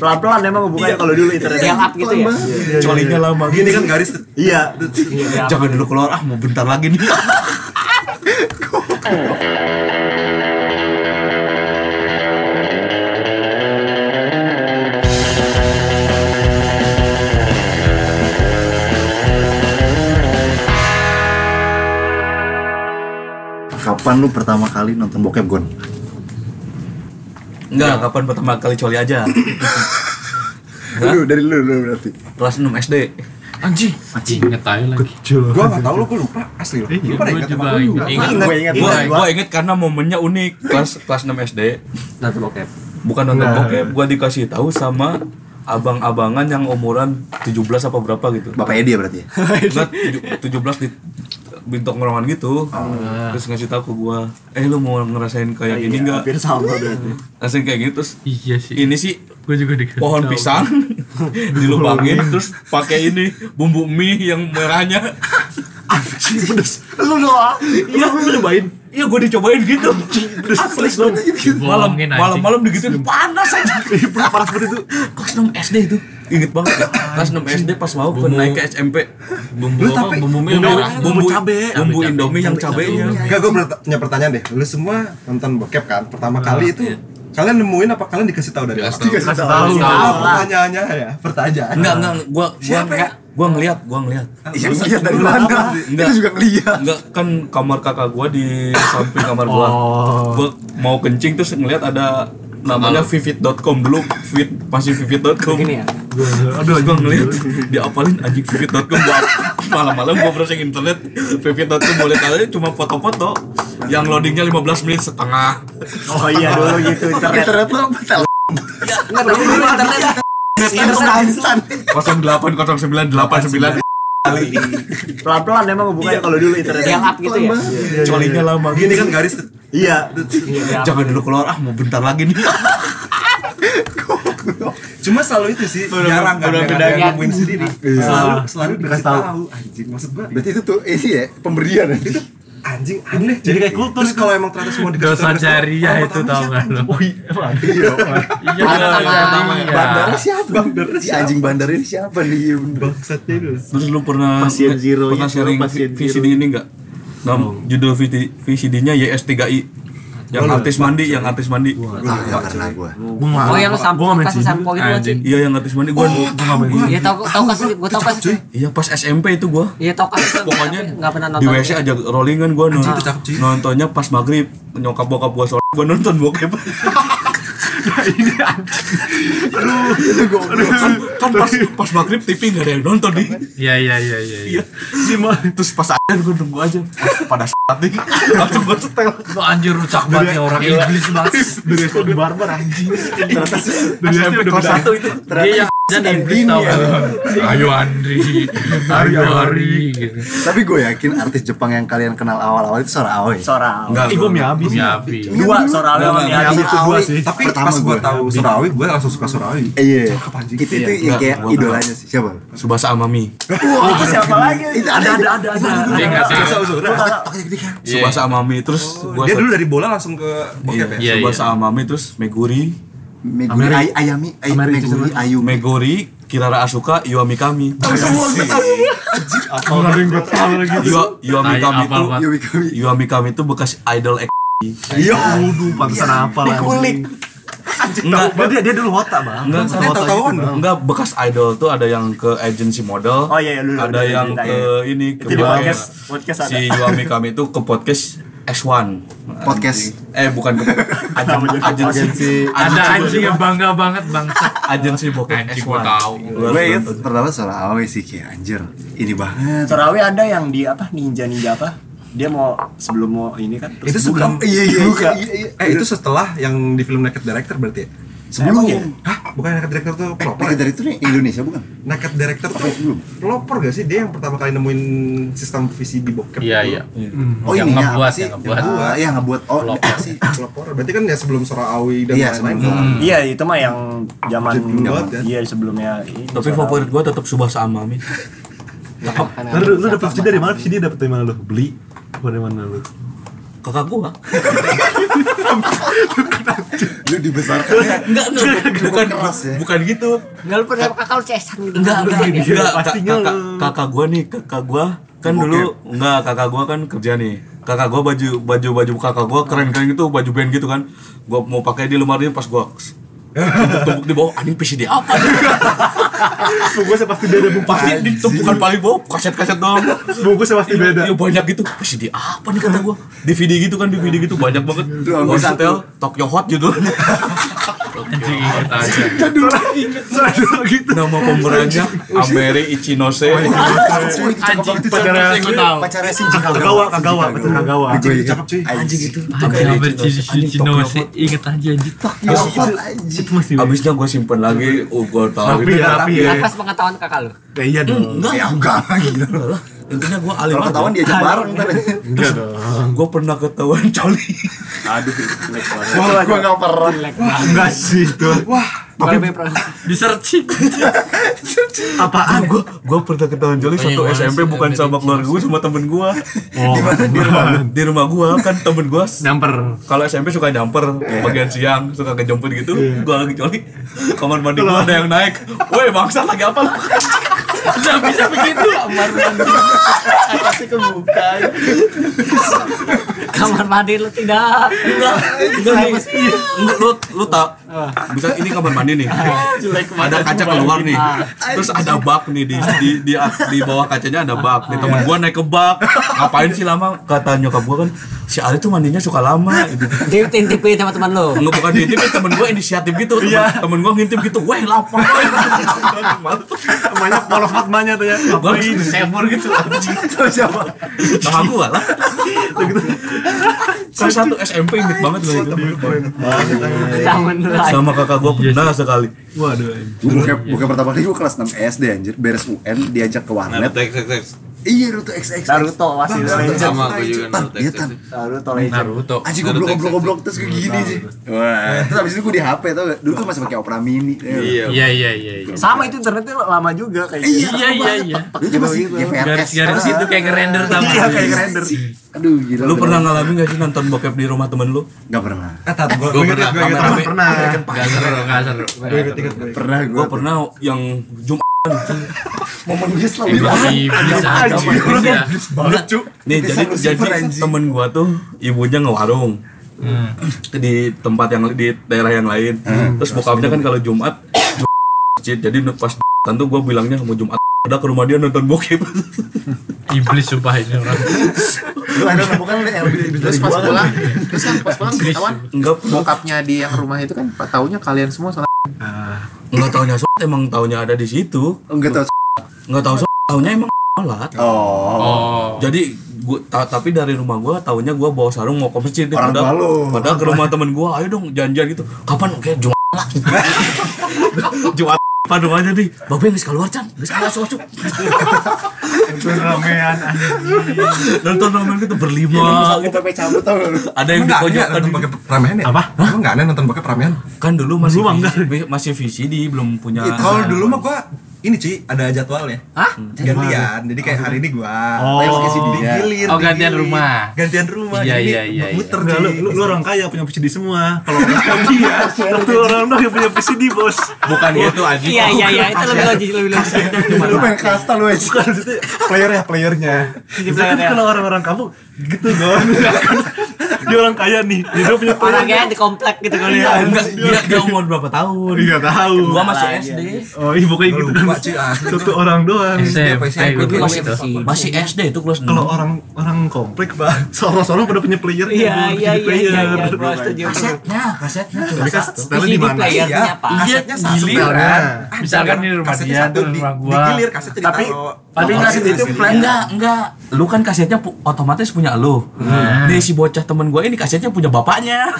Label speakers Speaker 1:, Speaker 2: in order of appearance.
Speaker 1: pelan-pelan emang
Speaker 2: Iya,
Speaker 1: hubungannya kalau dulu internet.
Speaker 3: Yang up gitu ya.
Speaker 2: Colinya lama
Speaker 4: Gini kan garis tuh.
Speaker 1: Iya.
Speaker 3: Iya,
Speaker 2: Jangan dulu keluar ah mau bentar lagi nih.
Speaker 4: Kapan lu pertama kali nonton bokep Gon?
Speaker 2: Enggak, kapan pertama kali coli aja?
Speaker 4: Lu dari lu lu berarti.
Speaker 2: Kelas 6 SD.
Speaker 5: Anjing, anjing inget aja lagi.
Speaker 4: Gua enggak tahu lu gua lupa asli lu.
Speaker 5: Iya,
Speaker 4: Lupa deh
Speaker 5: gue
Speaker 4: kata
Speaker 5: juga
Speaker 4: gua.
Speaker 5: inget. inget.
Speaker 1: Gue ingat
Speaker 2: Gua
Speaker 1: gua.
Speaker 2: gua inget karena momennya unik. Kelas kelas 6 SD,
Speaker 3: Nanti bokep.
Speaker 2: bukan nonton
Speaker 5: Nah.
Speaker 2: bokep, gua dikasih tahu sama abang-abangan yang umuran 17 apa berapa gitu.
Speaker 4: Bapak Edi ya berarti. ya?
Speaker 2: Enggak, tujuh- 17 di bintang ngerongan gitu.
Speaker 3: Ah.
Speaker 2: Terus ngasih tahu ke gua, "Eh lu mau ngerasain kayak gini enggak?"
Speaker 1: Hampir sama berarti.
Speaker 2: Ngerasain kayak gitu. Terus
Speaker 5: Iya sih.
Speaker 2: ini sih
Speaker 5: Gue juga dikasih
Speaker 2: pohon
Speaker 5: tahu.
Speaker 2: pisang dilubangin terus pakai ini bumbu mie yang merahnya
Speaker 1: Ah, Lu doang.
Speaker 2: iya gue cobain iya gue dicobain gitu asli dong malam
Speaker 5: Dibohongin,
Speaker 2: malam
Speaker 5: anjing.
Speaker 2: malam digituin panas aja panas banget Iya, itu kelas 6 SD itu inget banget ya kelas 6 SD pas mau ke
Speaker 5: Bumbu-
Speaker 2: naik ke SMP
Speaker 5: Bumbu apa? Bumbu mie merah.
Speaker 2: bumbu cabe bumbu
Speaker 5: Cabe,
Speaker 2: indomie yang ya. cabenya
Speaker 4: Enggak, gue punya pertanyaan deh. Lu semua nonton bokep kan? Pertama kali itu kalian nemuin apa kalian dikasih tahu dari orang?
Speaker 5: Kasih tahu.
Speaker 1: Iya,
Speaker 4: Ah, pertanyaannya ya, pertanyaan.
Speaker 2: enggak enggak gua gua enggak gua ngeliat gua ngeliat
Speaker 4: Iya, lihat dari mana?
Speaker 2: Enggak.
Speaker 4: Itu juga ngeliat.
Speaker 2: Enggak kan kamar kakak gua di samping kamar gua.
Speaker 4: Oh.
Speaker 2: Gua mau kencing terus ngeliat ada namanya vivid.com dulu vivid masih vivid.com.
Speaker 3: Gini ya.
Speaker 2: Aduh, gua ngeliat diapalin anjing vivid.com gua malam-malam gua browsing internet vivid.com boleh kali cuma foto-foto yang loadingnya 15 menit setengah.
Speaker 1: Oh iya dulu gitu internet.
Speaker 4: Internet lu apa? Tel-
Speaker 1: Enggak tahu dulu internet.
Speaker 4: Instan, instan.
Speaker 2: 080989
Speaker 4: Iya,
Speaker 1: Pelan-pelan emang hubungannya kalau dulu internet.
Speaker 4: Iya.
Speaker 3: Yang up gitu ya.
Speaker 2: colinya lama.
Speaker 4: Gini iya. kan garis tuh.
Speaker 1: Iya.
Speaker 3: Iya.
Speaker 2: Jangan dulu keluar ah mau bentar lagi nih.
Speaker 4: Cuma selalu itu sih, jarang kan yang ada yang nemuin sendiri. Selalu selalu dikasih tahu anjing. Maksud gua
Speaker 6: Berarti itu tuh ini ya pemberian ya.
Speaker 1: Iya.
Speaker 4: itu anjing aneh
Speaker 5: jadi kayak kultur
Speaker 4: Terus kalau emang ternyata semua dikasih
Speaker 5: Dosa
Speaker 4: tahu, dikasih tahu,
Speaker 5: jariah
Speaker 4: orang
Speaker 5: itu tau
Speaker 4: pertama siapa?
Speaker 5: gak lo?
Speaker 6: Iya.
Speaker 5: Iya, pertama ya.
Speaker 6: Bandara siapa? Bandara si anjing bandar ini siapa nih? Iya bener.
Speaker 4: Bangsatnya itu.
Speaker 2: Terus lu pernah
Speaker 1: Pasien zero
Speaker 2: pernah
Speaker 1: itu,
Speaker 2: sharing
Speaker 1: pasien
Speaker 2: vi-
Speaker 1: zero.
Speaker 2: VCD ini enggak? Nam, judul VCD VCD-nya YS3I. Yang artis mandi, yang artis mandi.
Speaker 6: Ah, gak pernah gua.
Speaker 3: Oh yang lu sampo kasih sampo gitu anjing.
Speaker 5: Anjing.
Speaker 2: Iya yang artis mandi gua.
Speaker 3: Iya tahu tahu kasih gua tahu kasih.
Speaker 2: Iya pas SMP itu gua.
Speaker 3: Iya tahu kasih.
Speaker 2: Pokoknya
Speaker 3: enggak pernah
Speaker 2: Di
Speaker 3: nonton.
Speaker 2: WC aja rollingan gua nonton.
Speaker 4: itu cakep, cuy.
Speaker 2: Nontonnya pas maghrib nyokap bokap gua soal gua nonton bokep. kan, kan pas pas maghrib TV nggak ada yang nonton nih.
Speaker 5: Iya, iya, iya, iya. iya.
Speaker 2: Terus pas akhir gua nunggu aja. Ah, Pada saat nih langsung gua setel.
Speaker 5: Lu anjir lu cak banget ya orang Inggris banget.
Speaker 1: Dari sekolah barbar anjing.
Speaker 5: Dari SMP kelas 1 itu. Dia yang dan Inggris tau gak lo? Ayo Andri, hari hari gitu.
Speaker 6: Tapi gue yakin artis Jepang yang kalian kenal awal-awal itu Sora Aoi. Iya,
Speaker 1: Soral.
Speaker 2: Enggak. gua-
Speaker 5: Habis ya, habis.
Speaker 1: Dua soral sama
Speaker 2: Enggak,
Speaker 1: Miyabi.
Speaker 6: Itu gua sih.
Speaker 4: Tapi
Speaker 6: Pertama
Speaker 4: pas gua
Speaker 6: gua.
Speaker 4: tahu Surawi, gua langsung suka Surawi.
Speaker 6: Iya.
Speaker 4: Cakep anjing.
Speaker 6: Itu itu yang kayak
Speaker 2: Enggak, gua-
Speaker 6: idolanya sih. Siapa?
Speaker 2: Subasa Amami.
Speaker 1: Wah, itu siapa lagi?
Speaker 6: Itu ada ada ada.
Speaker 5: Dia enggak tahu. Iya.
Speaker 2: Subasa Amami terus gua
Speaker 4: kan. Oh, Dia dulu dari bola langsung ke bokep ya.
Speaker 2: Iya,
Speaker 5: Iya, iya.
Speaker 2: Subasa Amami terus Meguri,
Speaker 6: Meguri
Speaker 5: Ameri-
Speaker 6: Ay- Ayami Ay-
Speaker 5: Ameri itu
Speaker 6: Meguri Ayumi.
Speaker 2: Meguri, Kirara Asuka, Yuami Kami.
Speaker 5: Enggak ada yang gua tahu lagi.
Speaker 2: Yu- Yuami
Speaker 5: Ay,
Speaker 2: Kami
Speaker 5: apa,
Speaker 2: itu
Speaker 5: apa.
Speaker 6: Yumi Kami.
Speaker 2: Yuami Kami itu bekas idol X.
Speaker 6: Iya.
Speaker 1: Aduh, bangsa apa lagi? Dikulik.
Speaker 2: Enggak,
Speaker 1: Dia dia dulu hota, Bang.
Speaker 2: enggak,
Speaker 4: Dia
Speaker 2: enggak,
Speaker 4: tahu-tahuan dong.
Speaker 2: enggak bekas idol tuh ada yang ke agency model.
Speaker 1: Oh, iya, iya, lu-
Speaker 2: ada
Speaker 1: lu- lu
Speaker 2: yang
Speaker 1: ceritain.
Speaker 2: ke ini ke
Speaker 1: Itu di podcast, podcast ada.
Speaker 2: Si Yuami Kami itu ke podcast S1.
Speaker 6: Podcast.
Speaker 2: Eh bukan ke agen- agensi
Speaker 5: Ada anjing yang bangga banget bangsa.
Speaker 2: agensi bokep
Speaker 5: Anjing,
Speaker 2: S1.
Speaker 5: gua tahu.
Speaker 2: Gua-
Speaker 6: Gue inget pertama Sora Aoi sih kayak anjir. Ini banget.
Speaker 1: Sorawi ada yang di apa ninja ninja apa? Dia mau sebelum mau ini kan terus
Speaker 4: Itu
Speaker 1: buka.
Speaker 4: sebelum
Speaker 6: Iya iya
Speaker 1: Buka.
Speaker 6: iya, iya.
Speaker 4: eh itu setelah yang di film Naked Director berarti ya?
Speaker 1: Emang ya?
Speaker 6: Sebelum.
Speaker 4: Hah? Bukan Naked Director tuh
Speaker 6: Eh,
Speaker 4: proper.
Speaker 6: Naked
Speaker 4: ya?
Speaker 6: dari itu nih Indonesia bukan?
Speaker 4: Naked Director tuh
Speaker 6: belum.
Speaker 4: proper gak sih dia yang pertama kali nemuin sistem visi di bokep?
Speaker 5: Iya,
Speaker 4: itu?
Speaker 5: iya.
Speaker 6: Oh
Speaker 5: Yang
Speaker 6: ini ya,
Speaker 5: ngebuat,
Speaker 6: apa sih?
Speaker 5: yang ngebuat.
Speaker 6: Ah, yang ngebuat. Oh,
Speaker 5: Vlog.
Speaker 6: apa sih?
Speaker 4: Pelopor. Berarti kan ya sebelum Sora Awi dan
Speaker 6: Iya,
Speaker 4: lain-lain.
Speaker 6: sebelum.
Speaker 4: kan?
Speaker 1: Iya itu mah yang zaman
Speaker 4: Sebelum banget, kan?
Speaker 1: Iya sebelumnya. ini
Speaker 2: Tapi
Speaker 1: Sorawi.
Speaker 2: favorit gua tetap Subasa Amami.
Speaker 1: Nah,
Speaker 7: Lu, lu dapet VCD dari mana? VCD dapet dari mana lu? Beli? Apa dari mana lu?
Speaker 2: Kakak gua.
Speaker 6: Lu dibesarkan ya?
Speaker 2: Enggak, enggak, bukan
Speaker 6: keras ya.
Speaker 2: bukan gitu.
Speaker 3: Enggak lu pernah kakak lu cesan gitu.
Speaker 2: Enggak, enggak, enggak.
Speaker 5: Iya,
Speaker 2: Ka-
Speaker 5: pastinya
Speaker 2: kakak,
Speaker 5: lu.
Speaker 2: kakak gua nih, kakak gua kan dulu enggak, kakak gua kan kerja nih. Kakak gua baju baju baju kakak gua keren-keren gitu, baju band gitu kan. Gua mau pakai di lemari pas gua tumpuk di bawah anjing PCD apa nih?
Speaker 5: Bungkusnya pasti beda bung
Speaker 2: pasti ditumpukan paling bawah kaset-kaset doang
Speaker 5: Bungkusnya pasti
Speaker 2: Iya,
Speaker 5: beda.
Speaker 2: iya, banyak gitu PCD apa nih kata gua DVD gitu kan DVD gitu banyak banget
Speaker 6: ambil
Speaker 2: Gua
Speaker 6: satu.
Speaker 2: setel Tokyo Hot gitu. judulnya
Speaker 5: Anjing inget aja.
Speaker 2: nama pemerannya Ameri Ichinose
Speaker 5: Anjing pacarnya
Speaker 6: pacarnya Shinji
Speaker 5: Kagawa, Kagawa, betul Kagawa.
Speaker 4: Anjing itu cakep cuy.
Speaker 6: Anjing itu.
Speaker 2: Anjing, hampir jadi Cino sih.
Speaker 3: Ingat aja anjir.
Speaker 5: Itu masih.
Speaker 2: abisnya gua simpen lagi oh gua tahu
Speaker 5: Tapi ya, tapi ya.
Speaker 3: Atas pengetahuan kakak lu.
Speaker 5: Ya iya dong.
Speaker 2: enggak
Speaker 6: Ya enggak gitu.
Speaker 2: intinya gua alim
Speaker 6: Kalau
Speaker 2: aja. Ah,
Speaker 6: ketahuan diajak bareng tadi.
Speaker 5: Enggak dong.
Speaker 2: gua pernah ketahuan coli
Speaker 1: Aduh, jelek banget.
Speaker 6: Wah, gua enggak pernah.
Speaker 5: Enggak sih itu.
Speaker 3: Kalau lebih pernah.
Speaker 5: Di searching. Apaan?
Speaker 2: gua gua pernah ketahuan coli satu
Speaker 7: gimana sih,
Speaker 2: SMP bukan
Speaker 7: Ameri
Speaker 2: sama keluarga gua sama temen gua
Speaker 5: Oh,
Speaker 2: di rumah gua kan temen gua
Speaker 5: nyamper.
Speaker 2: kalau SMP suka nyamper bagian siang suka kejemput gitu gua lagi coli kamar mandi gua ada yang naik woi bangsa lagi apa lu nggak bisa begitu
Speaker 7: Pasti kebuka.
Speaker 3: Kamar mandi lu tidak.
Speaker 2: enggak enggak nih Enggak, iya. lu lu tak bisa ini kamar mandi nih
Speaker 5: Ah,
Speaker 2: ada kaca keluar nih terus ada bak nih di di di, ah, di bawah kacanya ada bak nih temen gua naik ke bak ngapain sih lama kata nyokap gua kan si Ali tuh mandinya suka lama gitu.
Speaker 3: Dia intip teman-teman lu.
Speaker 2: Enggak bukan dia tapi temen gue inisiatif gitu temen,
Speaker 5: Iya.
Speaker 2: temen gue ngintip gitu weh lapar
Speaker 5: Namanya polos matmanya tuh ya.
Speaker 2: gue disembur gitu anjing siapa sama gue lah
Speaker 5: Gitu.
Speaker 2: kelas satu SMP inget banget gue itu
Speaker 3: Zaman lu.
Speaker 2: Iya, sama kakak gue pernah sekali
Speaker 5: Waduh.
Speaker 6: Bukan, bukan pertama kali gue kelas 6 SD anjir beres UN diajak ke warnet
Speaker 8: Naruto XX
Speaker 6: iya Naruto XX
Speaker 1: Naruto masih
Speaker 6: Iya, Naruto
Speaker 1: legend.
Speaker 8: sama gue juga
Speaker 6: Tan,
Speaker 8: Naruto
Speaker 6: iya
Speaker 8: XX
Speaker 6: tan
Speaker 1: Naruto legend.
Speaker 7: Naruto.
Speaker 6: Anjing goblok goblok goblok terus kayak gini sih. Wah, terus abis itu gue di HP tau gak? Dulu tuh masih pakai Opera Mini.
Speaker 8: iya
Speaker 7: Iya iya iya. iya.
Speaker 1: Sama itu internetnya lama juga kayak gitu.
Speaker 7: Iya iya iya.
Speaker 6: Dulu tuh masih GPRS.
Speaker 7: Garis-garis itu kayak ngerender sama.
Speaker 1: Iya kayak render.
Speaker 6: gitu. Aduh gila.
Speaker 2: lu pernah ngalamin gak sih nonton bokep di rumah temen lu
Speaker 6: Gak pernah.
Speaker 4: Ah,
Speaker 7: Gue pernah kamera
Speaker 5: Pernah.
Speaker 7: Gak seru gak seru.
Speaker 6: Pernah
Speaker 2: gue
Speaker 6: gue.
Speaker 2: pernah yang Jumat
Speaker 6: Momen gue selalu bilang.
Speaker 7: Bisa bisa.
Speaker 2: nih
Speaker 6: Bisa
Speaker 2: jadi
Speaker 6: lu
Speaker 2: jadi
Speaker 6: simpen, anjing.
Speaker 2: temen gue tuh ibunya ngewarung di tempat yang di daerah yang lain
Speaker 6: Hmm.
Speaker 2: terus bokapnya kan kalau Jumat masjid jadi pas tentu gue bilangnya mau Jumat ada ke rumah dia nonton bokep
Speaker 7: Iblis sumpah ini orang.
Speaker 6: Lu ada bukan lu yang lebih lebih
Speaker 7: Terus
Speaker 6: dari
Speaker 7: pas
Speaker 6: gua kan?
Speaker 7: pulang, terus kan pas pulang ketahuan
Speaker 2: enggak
Speaker 7: bokapnya di yang rumah itu kan taunya kalian semua salah.
Speaker 2: Enggak taunya sholat emang taunya ada di situ.
Speaker 6: Enggak tau.
Speaker 2: Enggak tahu sholat taunya emang sholat.
Speaker 6: Oh.
Speaker 7: Oh.
Speaker 2: Jadi gua ta- tapi dari rumah gua taunya gua bawa sarung mau ke masjid nih.
Speaker 6: Orang
Speaker 2: padahal,
Speaker 6: tua lu.
Speaker 2: padahal ke rumah temen gua ayo dong janjian gitu. Kapan oke Jumat lah. Jumat pada rumahnya nih. Babe geus keluar Can. Geus masuk masuk.
Speaker 5: Ramean.
Speaker 2: Nonton ramen gitu berlima gitu.
Speaker 6: Sampai cabut Oh. tau gak lu?
Speaker 2: Ada yang dikoyokan
Speaker 4: nonton
Speaker 2: gitu.
Speaker 4: bokep ramean ya?
Speaker 5: Apa?
Speaker 4: Lu enggak aneh nonton bokep ramean?
Speaker 2: kan dulu masih VCD, masih VCD belum punya.
Speaker 4: Iya, Kalau dulu mah gua ini cuy, ada jadwalnya.
Speaker 3: Hah?
Speaker 4: Gantian. Jadi kayak hari ini gua.
Speaker 5: Oh.
Speaker 6: Tapi pakai CD
Speaker 4: Iya.
Speaker 6: dia.
Speaker 4: Digilir,
Speaker 7: Oh, gantian
Speaker 4: digilir.
Speaker 7: rumah.
Speaker 4: Gantian rumah.
Speaker 7: Iya,
Speaker 4: Jadi
Speaker 7: iya, iya,
Speaker 4: Muter
Speaker 5: Enggak, lu, lu, lu orang kaya punya PCD semua. Kalau orang kaya,
Speaker 1: iya.
Speaker 5: satu orang doang yang punya PCD, Bos.
Speaker 2: bukan gitu, itu aja.
Speaker 3: Iya iya iya itu lebih logis lebih
Speaker 2: Iya,
Speaker 3: logis.
Speaker 6: Lu main kasta lu aja.
Speaker 4: Bukan maksudnya playernya, ya, playernya.
Speaker 1: Gitu,
Speaker 3: player
Speaker 4: Tapi
Speaker 3: ya.
Speaker 4: kalau orang-orang kamu gitu dong. dia orang kaya nih, dia punya player.
Speaker 3: Orangnya di komplek gitu kali ya.
Speaker 2: Iya, Enggak, dia, dia umur berapa tahun?
Speaker 4: Enggak tahu.
Speaker 2: Gua masih SD.
Speaker 4: Oh, iya pokoknya gitu kan. Satu orang doang.
Speaker 7: SMP
Speaker 2: Itu
Speaker 7: gue
Speaker 2: masih,
Speaker 3: Iya,
Speaker 2: masih SD itu kelas
Speaker 4: Kalau
Speaker 2: 6
Speaker 4: orang orang komplek, Pak, seorang-seorang pada punya player
Speaker 3: Iya iya iya iya iya. Gua setuju.
Speaker 2: kasetnya kasetnya tuh.
Speaker 4: Tapi kan setelnya di
Speaker 3: VCD
Speaker 4: mana?
Speaker 3: player
Speaker 4: Iya.
Speaker 3: punya apa?
Speaker 4: Kasetnya satu
Speaker 7: giliran.
Speaker 4: setelnya.
Speaker 7: kan? Misalkan di rumah
Speaker 4: kan? Kasetnya
Speaker 7: dia,
Speaker 4: satu
Speaker 7: di
Speaker 4: di-
Speaker 7: rumah gua.
Speaker 4: digilir kasetnya
Speaker 1: Tapi tapi kaset
Speaker 2: gitu,
Speaker 1: itu plan
Speaker 2: enggak enggak lu kan kasetnya pu- otomatis punya lu nih si bocah temen gue ini kasetnya punya bapaknya